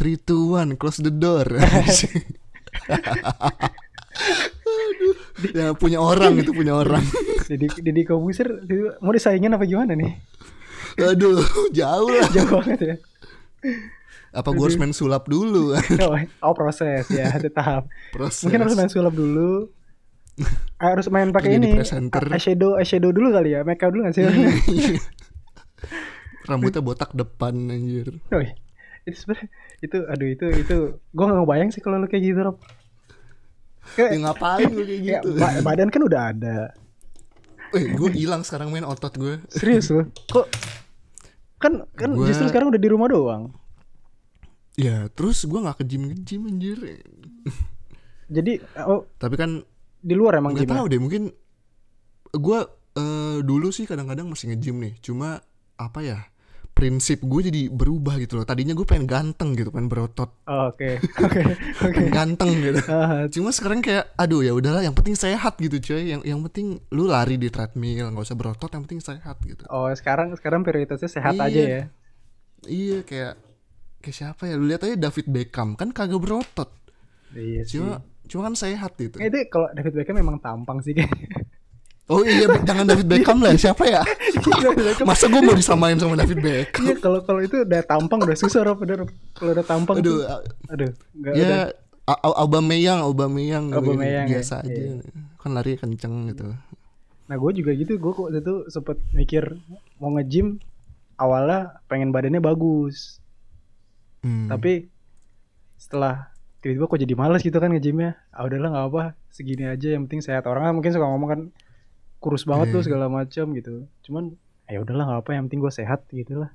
Three, two, one, close the door. Aduh, ya punya orang itu punya orang. Jadi Deddy Kobuser itu mau disaingin apa gimana nih? Aduh, jauh lah. Jauh banget ya. Apa gue harus main sulap dulu? Oh, oh, proses ya, ada tahap. Proses. Mungkin harus main sulap dulu. Harus main Jadi pakai ini. presenter. Iya. Eyeshadow, eyeshadow dulu kali ya. Makeup dulu nggak sih? Rambutnya botak depan anjir. Oh, iya. itu sebenarnya itu aduh itu itu gua nggak ngebayang sih kalau lu kayak gitu Rob. Ya Kayak, ngapain gue kayak kayak gitu? ba- badan kan udah ada. Eh, gue hilang sekarang main otot gue. Serius lu? Kok kan kan Gua- justru sekarang udah di rumah doang. Ya, terus gue nggak ke gym ke gym anjir. Jadi oh, Tapi kan di luar emang nggak gimana? tahu deh mungkin gue dulu sih kadang-kadang masih nge-gym nih. Cuma apa ya? Prinsip gue jadi berubah gitu loh. Tadinya gue pengen ganteng gitu, pengen berotot, Oh, Oke. Oke. Oke. pengen ganteng gitu. Ah, Cuma sekarang kayak aduh ya udahlah yang penting sehat gitu coy. Yang yang penting lu lari di treadmill, nggak usah berotot, yang penting sehat gitu. Oh sekarang sekarang prioritasnya sehat Iya. aja ya. Iya kayak kayak siapa ya? Lu lihat aja David Beckham kan kagak berotot. Iya sih. Cuma cuma kan sehat gitu. Nah, itu kalau David Beckham memang tampang sih kayaknya. Oh iya jangan David Beckham lah siapa ya? Masa gue mau disamain sama David Beckham? Iya kalau kalau itu udah tampang udah susah Rob udah Rob. kalau udah tampang Aduh, tuh, aduang nggak udah ya A- A- Aubameyang, Aubameyang, gitu, Aubameyang, biasa ya. aja. Kan lari kenceng gitu. Nah gue juga gitu, gue kok waktu itu sempet mikir mau nge-gym awalnya pengen badannya bagus, Hmm. tapi setelah tiba-tiba kok jadi males gitu kan nge-gymnya, ah udahlah nggak apa, segini aja yang penting sehat. Orang kan mungkin suka ngomong kan kurus banget Iya. tuh segala macam gitu, cuman ya udahlah nggak apa, yang penting gue sehat gitu lah.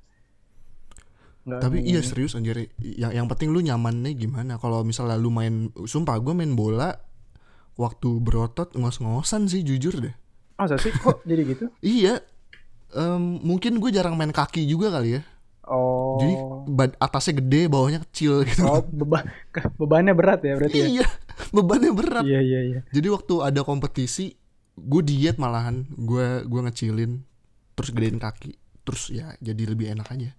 Nggak- Tapi iya serius anjir, yang yang penting lu nyamannya gimana? Kalau misalnya lu main sumpah gue main bola waktu berotot ngos-ngosan sih jujur deh. Masa sih kok jadi gitu? Iya. Em, mungkin gue jarang main kaki juga kali ya. Oh, Jadi bad- atasnya gede, bawahnya kecil gitu. oh beba- ke- bebannya berat ya berarti ya? Iya, bebannya berat. Iya iya iya. Jadi waktu ada kompetisi, gue diet malahan, gue gue ngecilin, terus gedein kaki, terus ya jadi lebih enak aja.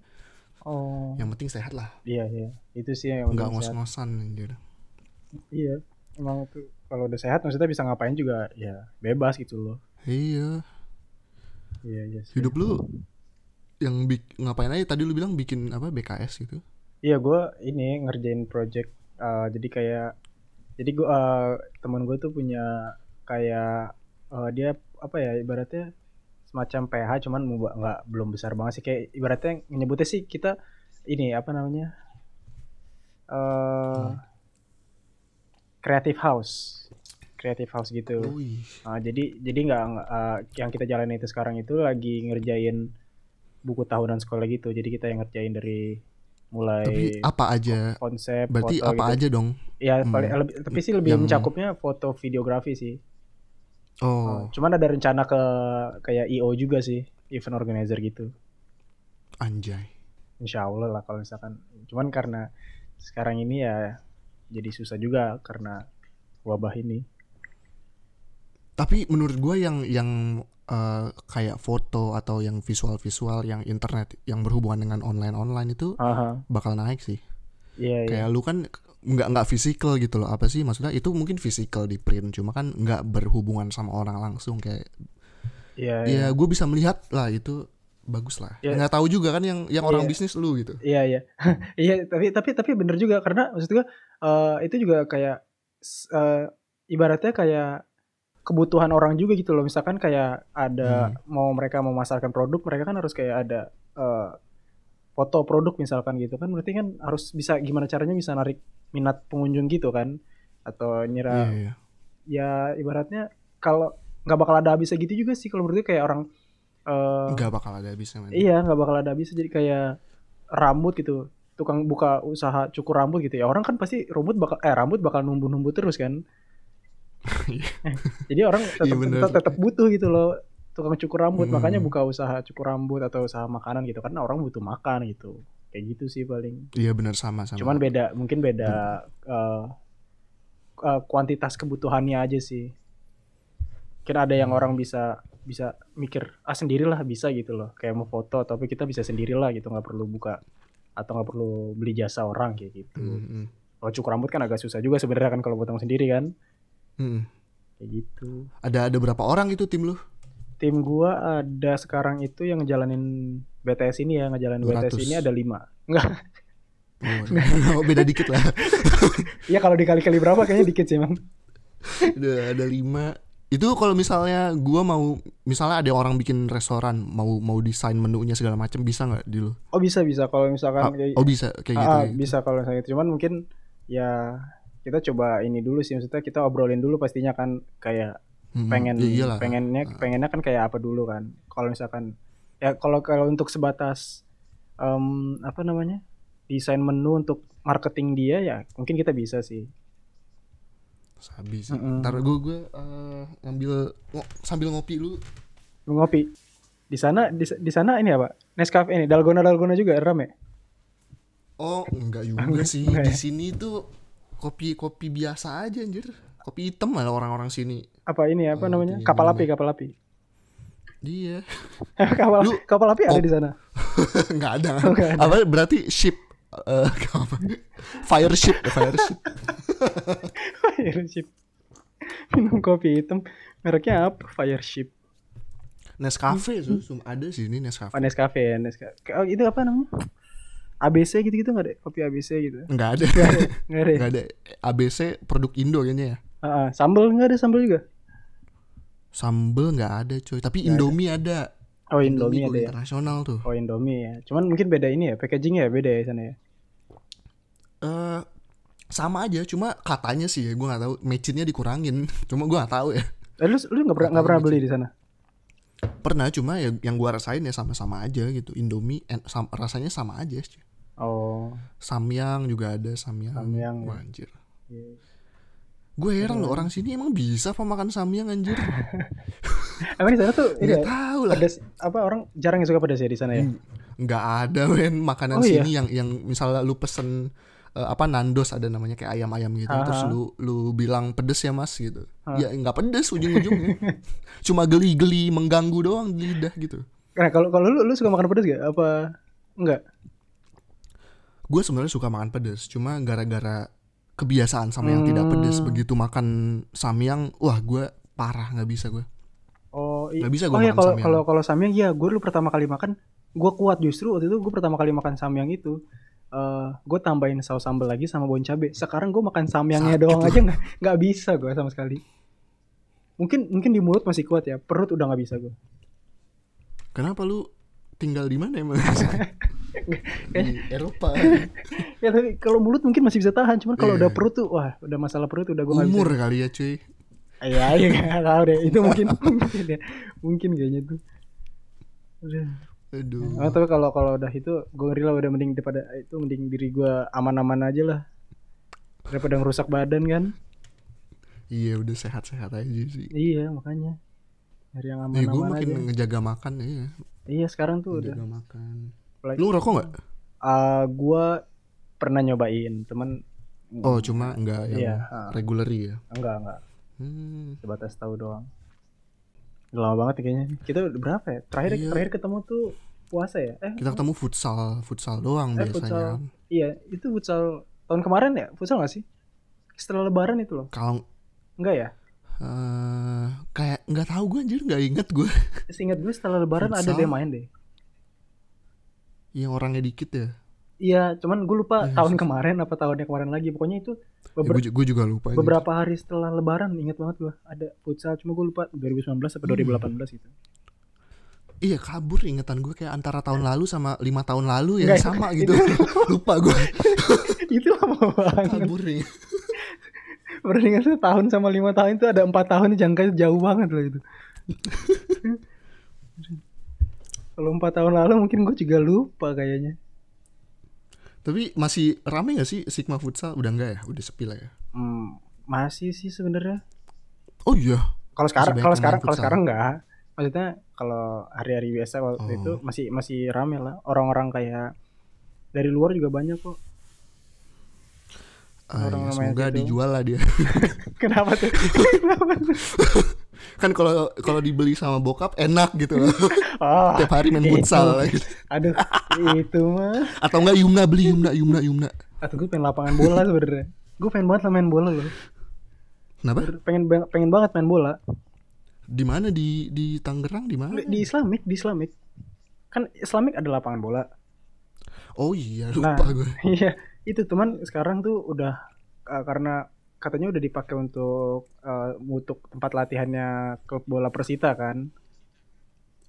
Oh, Yang penting sehat lah, iya iya. Itu sih yang nggak penting sehat. ngos-ngosan anjir. Iya, emang tuh kalau udah sehat maksudnya bisa ngapain juga ya bebas gitu loh. Iya, Iya iya. sih. hidup lu yang bik- ngapain aja tadi lu bilang bikin apa BKS gitu. Iya gue ini ngerjain project eh, jadi kayak jadi gue teman gue tuh punya kayak eh, dia apa ya ibaratnya semacam PH cuman mu- nggak belum besar banget sih kayak ibaratnya nyebutnya sih kita ini apa namanya eh creative house creative house gitu. Wih. Ah, jadi jadi nggak nggak, ah, yang kita jalani itu sekarang itu lagi ngerjain buku tahunan sekolah gitu. Jadi kita yang ngerjain dari mulai Tapi apa aja? konsep Eh, Berarti foto apa gitu. aja dong? Ya Hmm. paling lebih- tapi sih lebih Yang- mencakupnya foto videografi sih. Oh, Cuman ada rencana ke kayak IO juga sih, event organizer gitu. anjay. Insya Allah lah kalau misalkan. Cuman karena sekarang ini ya jadi susah juga karena wabah ini. Tapi menurut gue yang yang eh, kayak foto atau yang visual-visual yang internet yang berhubungan dengan online-online itu Aha. bakal naik sih. Iya iya. Kayak lu kan nggak nggak fisikal gitu loh apa sih maksudnya itu mungkin fisikal di print cuma kan nggak berhubungan sama orang langsung kayak Iya iya. ya gue bisa melihat lah itu bagus lah Ya. nggak tahu juga kan yang yang orang Iya. bisnis lu gitu Iya iya. Iya, tapi tapi tapi bener juga karena maksud gua eh, itu juga kayak s- eh, ibaratnya kayak kebutuhan orang juga gitu loh. Misalkan kayak ada mau mereka memasarkan produk, mereka kan harus kayak ada eh, foto produk misalkan gitu kan. Berarti kan harus bisa gimana caranya bisa narik minat pengunjung gitu kan atau Iya, nyerah iya. ya ibaratnya kalau nggak bakal ada habisnya gitu juga sih kalau menurut gua kayak orang eh, nggak bakal ada habisnya men Iya, nggak bakal ada habisnya jadi kayak rambut gitu. Tukang buka usaha cukur rambut gitu ya. Orang kan pasti rambut bakal eh rambut bakal numbu-numbu terus kan. Eh, jadi orang tetap Iya, bener. tetap, tetap butuh gitu loh tukang cukur rambut. Hmm. Makanya buka usaha cukur rambut atau usaha makanan gitu karena orang butuh makan gitu. Kayak gitu sih paling. iya benar sama sama Cuman beda mungkin beda Hmm. eh, Hmm. eh, kuantitas kebutuhannya aja sih. Mungkin ada yang orang bisa bisa mikir ah sendirilah bisa gitu loh kayak mau foto tapi kita bisa sendirilah gitu nggak perlu buka atau nggak perlu beli jasa orang kayak gitu Mm-mm. kalau cukur rambut kan agak susah juga sebenarnya kan kalau potong sendiri kan Mm-mm. kayak gitu Ada ada berapa orang itu tim lu? tim gua ada sekarang itu yang ngejalanin BTS ini ya ngejalanin 200. BTS ini ada lima enggak Oh, beda dikit lah. iya kalau dikali-kali berapa kayaknya dikit sih emang ada, ada lima itu kalau misalnya gua mau misalnya ada orang bikin restoran mau mau desain menunya segala macam bisa nggak di lu? oh bisa bisa kalau misalkan Ah, kayak oh bisa kayak gitu. Ah, ya. bisa kalau misalnya gitu. Cuman mungkin ya kita coba ini dulu sih maksudnya kita obrolin dulu pastinya kan kayak Mm-mm. pengen Ya iyalah. pengennya pengennya kan kayak apa dulu kan. Kalau misalkan ya kalau kalau untuk sebatas em, apa namanya? desain menu untuk marketing dia ya mungkin kita bisa sih. Sabi sih. Mm-mm. Ntar gue gue eh, ngambil ngo- sambil ngopi lu. Lu Ngopi. Di sana di, di sana ini apa? Nescafe ini dalgona dalgona juga rame. Oh enggak juga sih enggak di ya. sini tuh kopi kopi biasa aja anjir. Kopi hitam malah orang-orang sini. Apa ini Oh, apa namanya? iya, iya. Kapal api, kapal api. Dia kapal Lu- kapal api ada Oh. di sana. nggak ada. Oh, nggak ada. Apa berarti ship eh apa? Fire ship, fire ship. Fireship. Minum kopi hitam. Mereknya apa? Fireship. Nescafe tuh cuma ada sih ini Nescafe. Oh, Nescafe ya. Nescafe. Oh, itu apa namanya? ABC gitu-gitu nggak ada? Kopi ABC gitu. Enggak ada. Nggak ada. Nggak ada. Enggak ada. ABC produk Indo kayaknya ya. Heeh. sambal nggak ada sambal juga? Sambel nggak ada coy, tapi Indomie ada. Oh, Indomie gua ada ya. internasional tuh. Oh, Indomie ya. Cuman mungkin beda ini ya. Packagingnya ya beda ya di sana ya. Eh sama aja, cuma katanya sih ya gue nggak tahu mecinnya dikurangin. Cuma gue nggak tahu ya. Eh, lu lu nggak pernah nggak pernah beli di sana? Pernah cuma ya yang gue rasain ya sama-sama aja gitu. Indomie en- sam- rasanya sama aja. cuy. Oh. Samyang juga ada samyang. Samyang, ya. Wah, anjir. iya. Gue heran loh orang sini emang bisa apa makan samyang anjir? Iya. Emang di sana tuh ini Nggak ya, tahu lah. pedas apa orang jarang yang suka pedas ya di sana ya? nggak ada men makanan Oh, iya? sini yang yang misalnya lu pesen eh, apa nandos ada namanya kayak ayam-ayam gitu Aha. terus lu lu bilang pedes ya mas gitu Ah. ya nggak pedes ujung-ujungnya cuma geli-geli mengganggu doang di lidah gitu Nah, kalau kalau lu lu suka makan pedas gak? Apa enggak? gue sebenarnya suka makan pedes cuma gara-gara kebiasaan sama yang Hmm. tidak pedes begitu makan samyang wah gue parah nggak bisa gue Oh, i- Nggak bisa gua oh iya makan kalau samyang. kalau kalau samyang ya gue dulu pertama kali makan gue kuat justru waktu itu gue pertama kali makan samyang itu eh gue tambahin saus sambal lagi sama bon cabe. Sekarang gue makan samyangnya Sakit doang lu. aja nggak nggak bisa gue sama sekali. Mungkin mungkin di mulut masih kuat ya, perut udah nggak bisa gue. kenapa lu tinggal di mana emang di Eropa Ya tapi kalau mulut mungkin masih bisa tahan, cuman kalau Iya. udah perut tuh wah udah masalah perut udah gue nggak bisa. umur kali ya cuy Iya iya nggak tahu deh itu mungkin mungkin ya. mungkin kayaknya tuh. Aduh. aduh Oh, tapi kalau kalau udah itu gue ngeri lah udah mending daripada itu mending diri gue aman-aman aja lah daripada ngerusak badan kan iya udah sehat-sehat aja sih iya makanya nyari yang Ya gue aman-aman makin aja ngejaga makan ya. iya sekarang tuh udah Ngejaga makan. Apalagi- Lu rokok nggak? Ah, gue pernah nyobain temen Oh cuma nggak yang Iya, ah. regular ya. enggak enggak Hmm. sebatas tahu doang Udah lama banget ya kayaknya kita udah berapa ya terakhir Iya. terakhir ketemu tuh puasa ya eh Kita ketemu futsal, futsal doang Eh, biasanya. iya itu futsal tahun kemarin ya futsal gak sih setelah lebaran itu loh Kalau enggak ya eh, kayak nggak tahu gue anjir nggak inget gue. Seingat gue setelah lebaran ada Futsal. deh main deh. yang orangnya dikit ya. Iya, cuman gue lupa Iya, tahun futsal. kemarin apa tahunnya kemarin lagi. Pokoknya itu ya beber- gue, ju- gue juga lupa. ini. beberapa hari setelah lebaran ingat banget gue ada futsal. Cuma gue lupa 2019 atau 2018 gitu. Iya kabur ingetan gue kayak antara tahun lalu sama lima tahun lalu ya Eh. Nggak, sama gitu. lupa gue itu lama banget. kabur iya. nih. Perbandingannya tahun sama lima tahun itu ada empat tahun jangka jauh banget loh itu. Kalau empat tahun lalu mungkin gue juga lupa kayaknya. Tapi masih rame gak sih Sigma Futsal? Udah enggak ya? Udah sepi lah ya. Hmm, masih sih sebenarnya. Oh iya. kalau sekarang banyak kalau yang sekarang main kalau futsal. sekarang enggak maksudnya kalau hari-hari biasa waktu Oh. itu masih masih rame lah orang-orang kayak dari luar juga banyak kok Ah, Orang iya, main semoga gitu. dijual lah dia. kenapa tuh kenapa tuh kan kalau kalau dibeli sama bokap enak gitu loh Ah, tiap hari main itu. futsal gitu. aduh itu mah. atau enggak Yumna beli Yumna Yumna Yumna Atau gue pengen lapangan bola sebenarnya. Gue pengen banget lah main bola loh. kenapa Pengen bang- pengen banget main bola di mana di di Tangerang di mana di Islamic, di Islamic. Kan Islamic ada lapangan bola. oh iya Nah. lupa gue Iya, itu teman sekarang tuh udah uh, karena katanya udah dipakai untuk uh, untuk tempat latihannya klub bola Persita kan.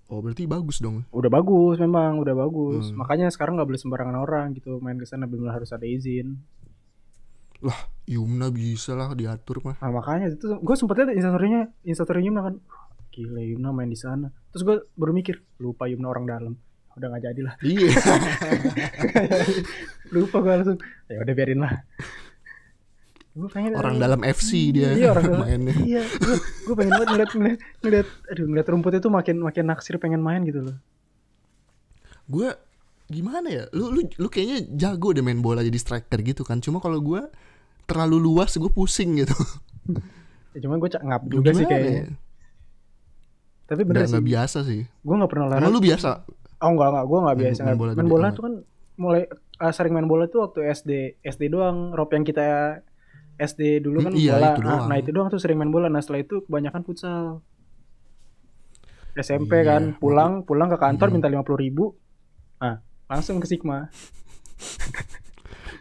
oh berarti bagus dong Udah bagus memang, udah bagus. Hmm. Makanya sekarang nggak boleh sembarangan orang gitu main ke sana belum harus ada izin. lah Yumna bisa lah diatur mah Nah, makanya itu gue sempet liat instastorynya, instastorynya Yumna kan. "Wah, Gila Yumna main di sana. Terus gue baru mikir, lupa Yumna orang dalam. Udah nggak jadi lah. iya Lupa gue langsung. Ya udah biarin lah. Gua pengen orang dalam FC dia Iya, orang dalam. mainnya iya gue gue pengen banget ngeliat, ngeliat ngeliat aduh ngeliat rumput itu makin makin naksir pengen main gitu loh gue gimana ya lu lu lu kayaknya jago deh main bola jadi striker gitu kan cuma kalau gue terlalu luas gue pusing gitu ya, cuman gue ngap juga sih Gimana kayaknya ya? tapi bener nggak sih nggak biasa sih gue nggak pernah Emang olahraga lu biasa oh nggak nggak gue nggak Main- biasa main main bola bola, gede tuh kan mulai eh, sering main bola tuh waktu SD SD doang rob yang kita SD dulu kan Hmm, iya, bola itu nah, doang. nah itu doang tuh sering main bola nah setelah itu kebanyakan futsal SMP Iya, kan pulang pulang ke Hmm. kantor minta lima puluh ribu nah langsung ke Sigma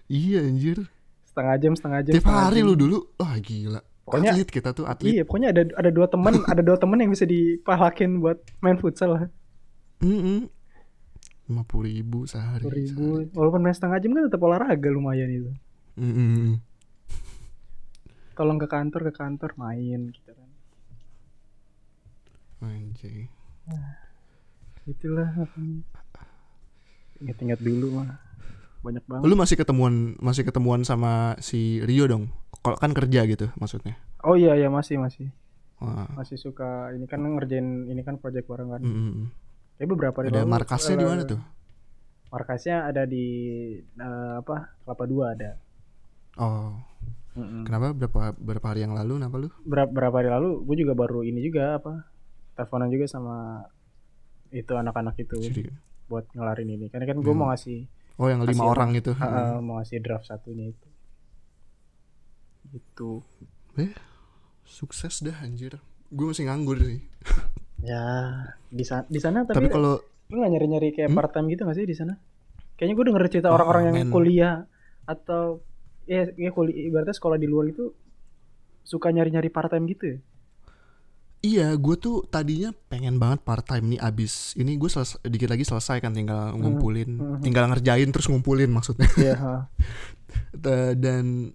iya anjir setengah jam setengah jam tiap setengah hari jam. lu dulu wah gila Pokoknya- atlet kita tuh atlet Iya, pokoknya ada ada dua teman, ada dua teman yang bisa dipalakin buat main futsal lah. lima puluh ribu sehari 1000. Walaupun main setengah jam kan tetap olahraga lumayan itu. Mm-mm. Tolong ke kantor, ke kantor main gitu kan. Anjay. Itulah makanya. Ingat-ingat dulu mah. Banyak banget. lu masih ketemuan masih ketemuan sama si Rio dong kalau kan kerja gitu maksudnya Oh iya iya masih masih. Wah. Masih suka ini kan ngerjain ini kan project bareng kan. Mm-mm. Kayak beberapa hari Hmm. ada lalu, markasnya di eh, mana tuh Markasnya ada di eh, apa? Kelapa 2 ada. oh Mm-mm. Kenapa berapa berapa hari yang lalu kenapa lu? berapa, berapa hari lalu gue juga baru ini juga apa teleponan juga sama itu anak-anak itu Jadi buat ngelarin ini karena kan gue Hmm. mau ngasih oh yang lima Kasih. orang itu. eh, eh, mau ngasih draft satunya itu gitu Eh, Sukses dah anjir. Gue masih nganggur sih. ya di sana di sana Tapi, tapi, kalau lu nggak nyari-nyari kayak Hmm? part time gitu nggak sih di sana kayaknya gue denger cerita Oh, orang-orang yang men. kuliah atau ya, ya kuliah ibaratnya sekolah di luar itu suka nyari-nyari part time gitu ya iya gue tuh tadinya pengen banget part time nih abis ini gue seles- dikit lagi selesai kan tinggal ngumpulin, hmm. tinggal ngerjain terus ngumpulin maksudnya. Iya, Eh, dan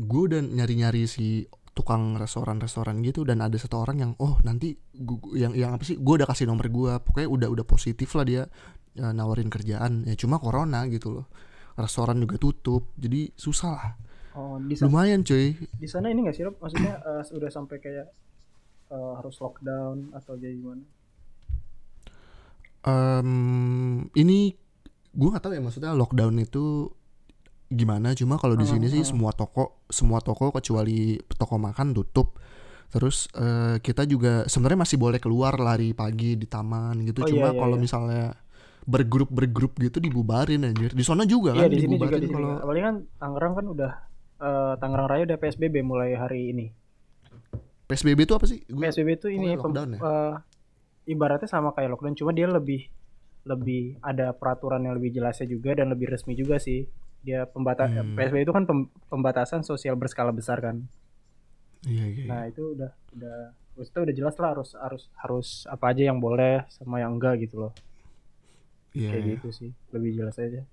gue udah nyari-nyari si tukang restoran-restoran gitu dan ada satu orang yang oh nanti gu- yang yang apa sih gue udah kasih nomor gue pokoknya udah udah positif lah dia eh, nawarin kerjaan ya cuma corona gitu loh restoran juga tutup jadi susah lah oh di sana lumayan cuy di sana ini nggak sih Rob? maksudnya eh, udah sampai kayak eh, harus lockdown atau kayak gimana Em, ini gue nggak tahu ya maksudnya lockdown itu gimana cuma kalau di sini sih Hmm, hmm. semua toko semua toko kecuali toko makan tutup terus eh, kita juga sebenarnya masih boleh keluar lari pagi di taman gitu Oh, cuma iya, iya, kalau iya. misalnya bergrup bergrup gitu dibubarin anjir di sana juga Iya kan di sini juga dibubarin di sini. kalau juga. Apalagi kan Tangerang kan udah eh, Tangerang Raya udah PSBB mulai hari ini. psbb itu apa sih Gua- PSBB itu ini pokoknya pem- lockdown ya? eh, ibaratnya sama kayak lockdown cuma dia lebih lebih ada peraturan yang lebih jelasnya juga dan lebih resmi juga sih. Dia pembatas Hmm. PSBB itu kan pem- pembatasan sosial berskala besar kan. iya iya iya. Nah, itu udah udah maksudnya udah jelas lah harus harus harus apa aja yang boleh sama yang enggak gitu loh. Iya, Kayak iya. gitu sih. Lebih jelas aja.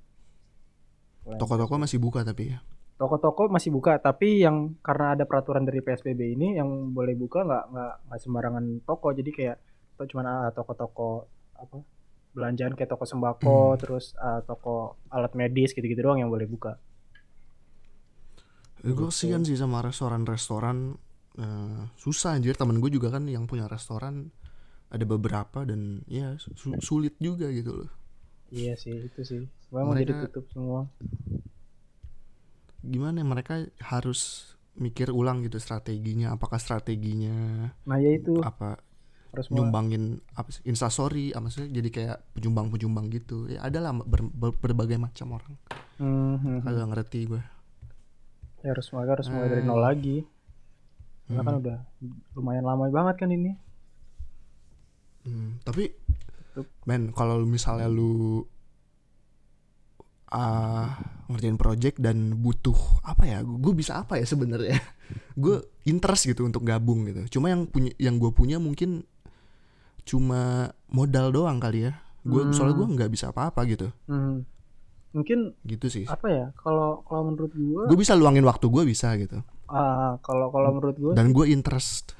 Selain toko-toko masih buka tapi ya toko-toko masih buka tapi yang karena ada peraturan dari PSBB ini yang boleh buka nggak nggak nggak sembarangan toko jadi kayak to- cuman ah, toko-toko apa belanjaan kayak toko sembako terus ah, toko alat medis gitu-gitu doang yang boleh buka Eh, Gue Betul. kesian sih sama restoran-restoran eh, Susah anjir temen gue juga kan yang punya restoran Ada beberapa dan ya su- sulit juga gitu loh iya sih itu sih semua mau jadi Mereka- tutup semua Gimana mereka ya, harus mikir ulang gitu strateginya apakah strateginya nah ya itu apa harus mulai. nyumbangin apa sih instastory apa sih jadi kayak penyumbang-penyumbang gitu ya adalah ber- ber- berbagai macam orang Hmm, hmm, hmm. agak ngerti gue Ya, harus mulai harus mulai dari Eh. nol lagi karena kan Hmm. udah lumayan lama banget kan ini Hmm, tapi Tuh. men kalau lu misalnya lu ah ngerjain project dan butuh apa ya gue bisa apa ya sebenarnya gue interest gitu untuk gabung gitu cuma yang punya yang gue punya mungkin cuma modal doang kali ya gue Hmm. soalnya gue nggak bisa apa-apa gitu Hmm. mungkin gitu sih apa ya kalau kalau menurut gua gue bisa luangin waktu gue bisa gitu ah, kalau kalau menurut gua dan gue interest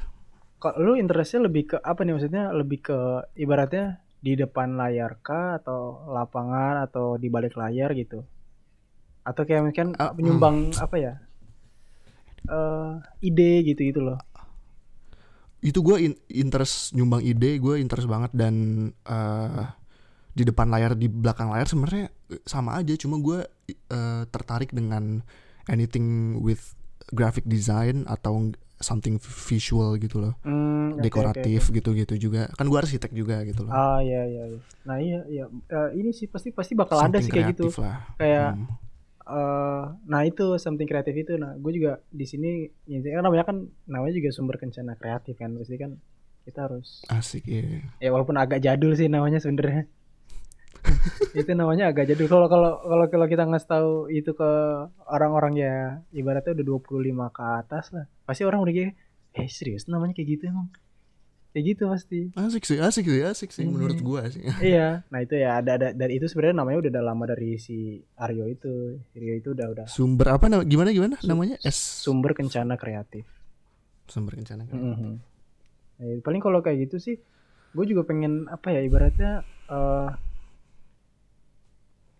kalau lu interestnya lebih ke apa nih maksudnya lebih ke ibaratnya di depan layar kah atau lapangan atau di balik layar gitu atau kayak mungkin Ah, menyumbang apa ya eh ide gitu gitu loh itu gue in- interest nyumbang ide gue interest banget dan eh, di depan layar di belakang layar sebenarnya eh, sama aja cuma gue eh, tertarik dengan anything with graphic design atau something visual gitu loh Hmm, oke, oke, dekoratif gitu-gitu juga kan gue arsitek juga gitu oke. loh ah ya ya ya nah iya iya Eh, ini sih pasti pasti bakal ada something sih kayak gitu kreatif lah kayak Hmm. eh nah itu something kreatif itu nah gue juga di sini intinya kan namanya kan namanya juga sumber kencana kreatif kan pasti kan kita harus asik ya ya walaupun agak jadul sih namanya sebenarnya itu namanya agak jadul kalau kalau kalau kalau kita ngasih tahu itu ke orang-orang ya ibaratnya udah 25 ke atas lah pasti orang udah kayak eh serius namanya kayak gitu emang kayak gitu pasti asik sih asik sih asik sih Hmm. menurut gue sih iya nah itu ya ada ada dari itu sebenarnya namanya udah udah lama dari si Aryo itu Aryo itu udah udah sumber apa nama- gimana gimana Su- namanya es sumber kencana kreatif sumber rencana kan? kreatif. Mhm. Eh, paling kalau kayak gitu sih, gue juga pengen apa ya ibaratnya eh,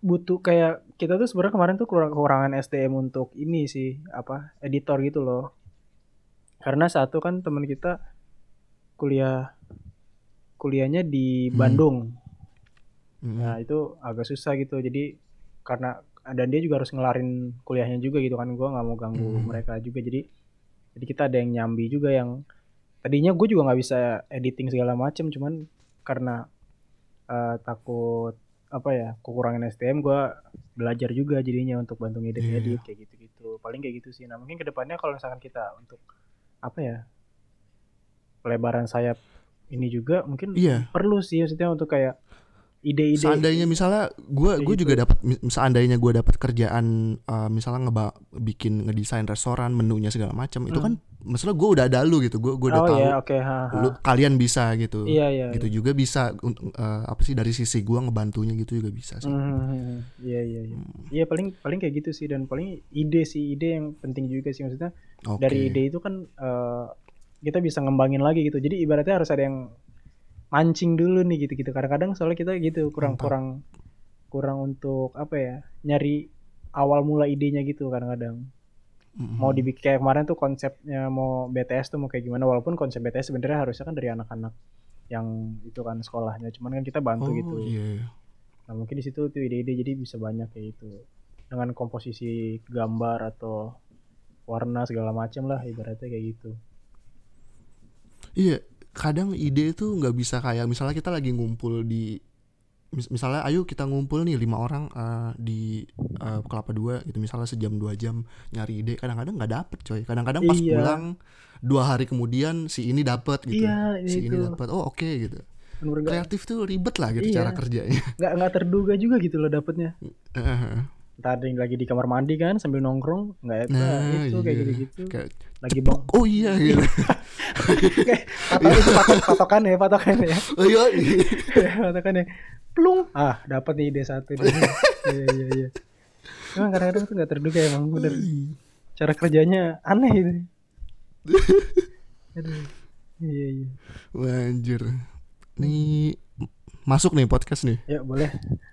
butuh kayak kita tuh sebenarnya kemarin tuh kurang kekurangan SDM untuk ini sih apa editor gitu loh. Karena satu kan teman kita kuliah kuliahnya di Hmm. Bandung. Mm. Nah, itu agak susah gitu. Jadi karena dan dia juga harus ngelarin kuliahnya juga gitu kan. Gua nggak mau ganggu Mhm. mereka juga. Jadi jadi kita ada yang nyambi juga yang tadinya gue juga nggak bisa editing segala macem cuman karena eh, takut apa ya kekurangan STM gua belajar juga jadinya untuk bantu ngedit Iya, edit kayak gitu gitu paling kayak gitu sih nah mungkin kedepannya kalau misalkan kita untuk apa ya pelebaran sayap ini juga mungkin iya perlu sih maksudnya untuk kayak ide-ide seandainya misalnya gue Kayak gue gitu. juga dapat mi- seandainya gue dapat kerjaan eh, misalnya ngeba bikin ngedesain restoran menunya segala macam itu kan Hmm. maksudnya gue udah ada lu gitu gue gue udah oh tahu ya oke ha, ha. lu kalian bisa gitu iya iya gitu juga bisa untuk eh, apa sih dari sisi gue ngebantunya gitu juga bisa iya. sih Mhm, iya iya iya Hmm, Iya, paling paling kayak gitu sih dan paling ide sih ide yang penting juga sih maksudnya oke dari ide itu kan eh, kita bisa ngembangin lagi gitu jadi ibaratnya harus ada yang mancing dulu nih gitu gitu kadang-kadang soalnya kita gitu kurang Mantap. kurang kurang untuk apa ya nyari awal mula idenya gitu kadang-kadang Mm-mm. mau dibikin kayak kemarin tuh konsepnya mau BTS tuh mau kayak gimana walaupun konsep BTS sebenarnya harusnya kan dari anak-anak yang itu kan sekolahnya cuman kan kita oh bantu gitu iya nah mungkin di situ tuh ide-ide jadi bisa banyak kayak gitu dengan komposisi gambar atau warna segala macam lah ibaratnya kayak gitu iya kadang ide itu nggak bisa kayak misalnya kita lagi ngumpul di mis- misalnya ayo kita ngumpul nih lima orang eh, di eh, kelapa dua gitu misalnya sejam dua jam nyari ide kadang-kadang nggak dapet coy kadang-kadang pas Iya. pulang dua hari kemudian si ini dapet gitu iya si ini itu dapet oh oke gitu bener nggak kreatif tuh ribet lah gitu Iya. cara kerjanya nggak nggak terduga juga gitu loh dapetnya entah ada yang lagi di kamar mandi kan sambil nongkrong nggak itu Nah, itu kayak iya. gitu gitu kayak lagi cepuk, bang oh iya gitu patokan itu patok- patokan ya patokan ya ayo katakan ya plung ah dapat nih ide satu nih. iya iya iya emang kadang-kadang tuh nggak terduga emang bener cara kerjanya aneh ini Aduh. iya iya Wah, anjir nih masuk nih podcast nih ya boleh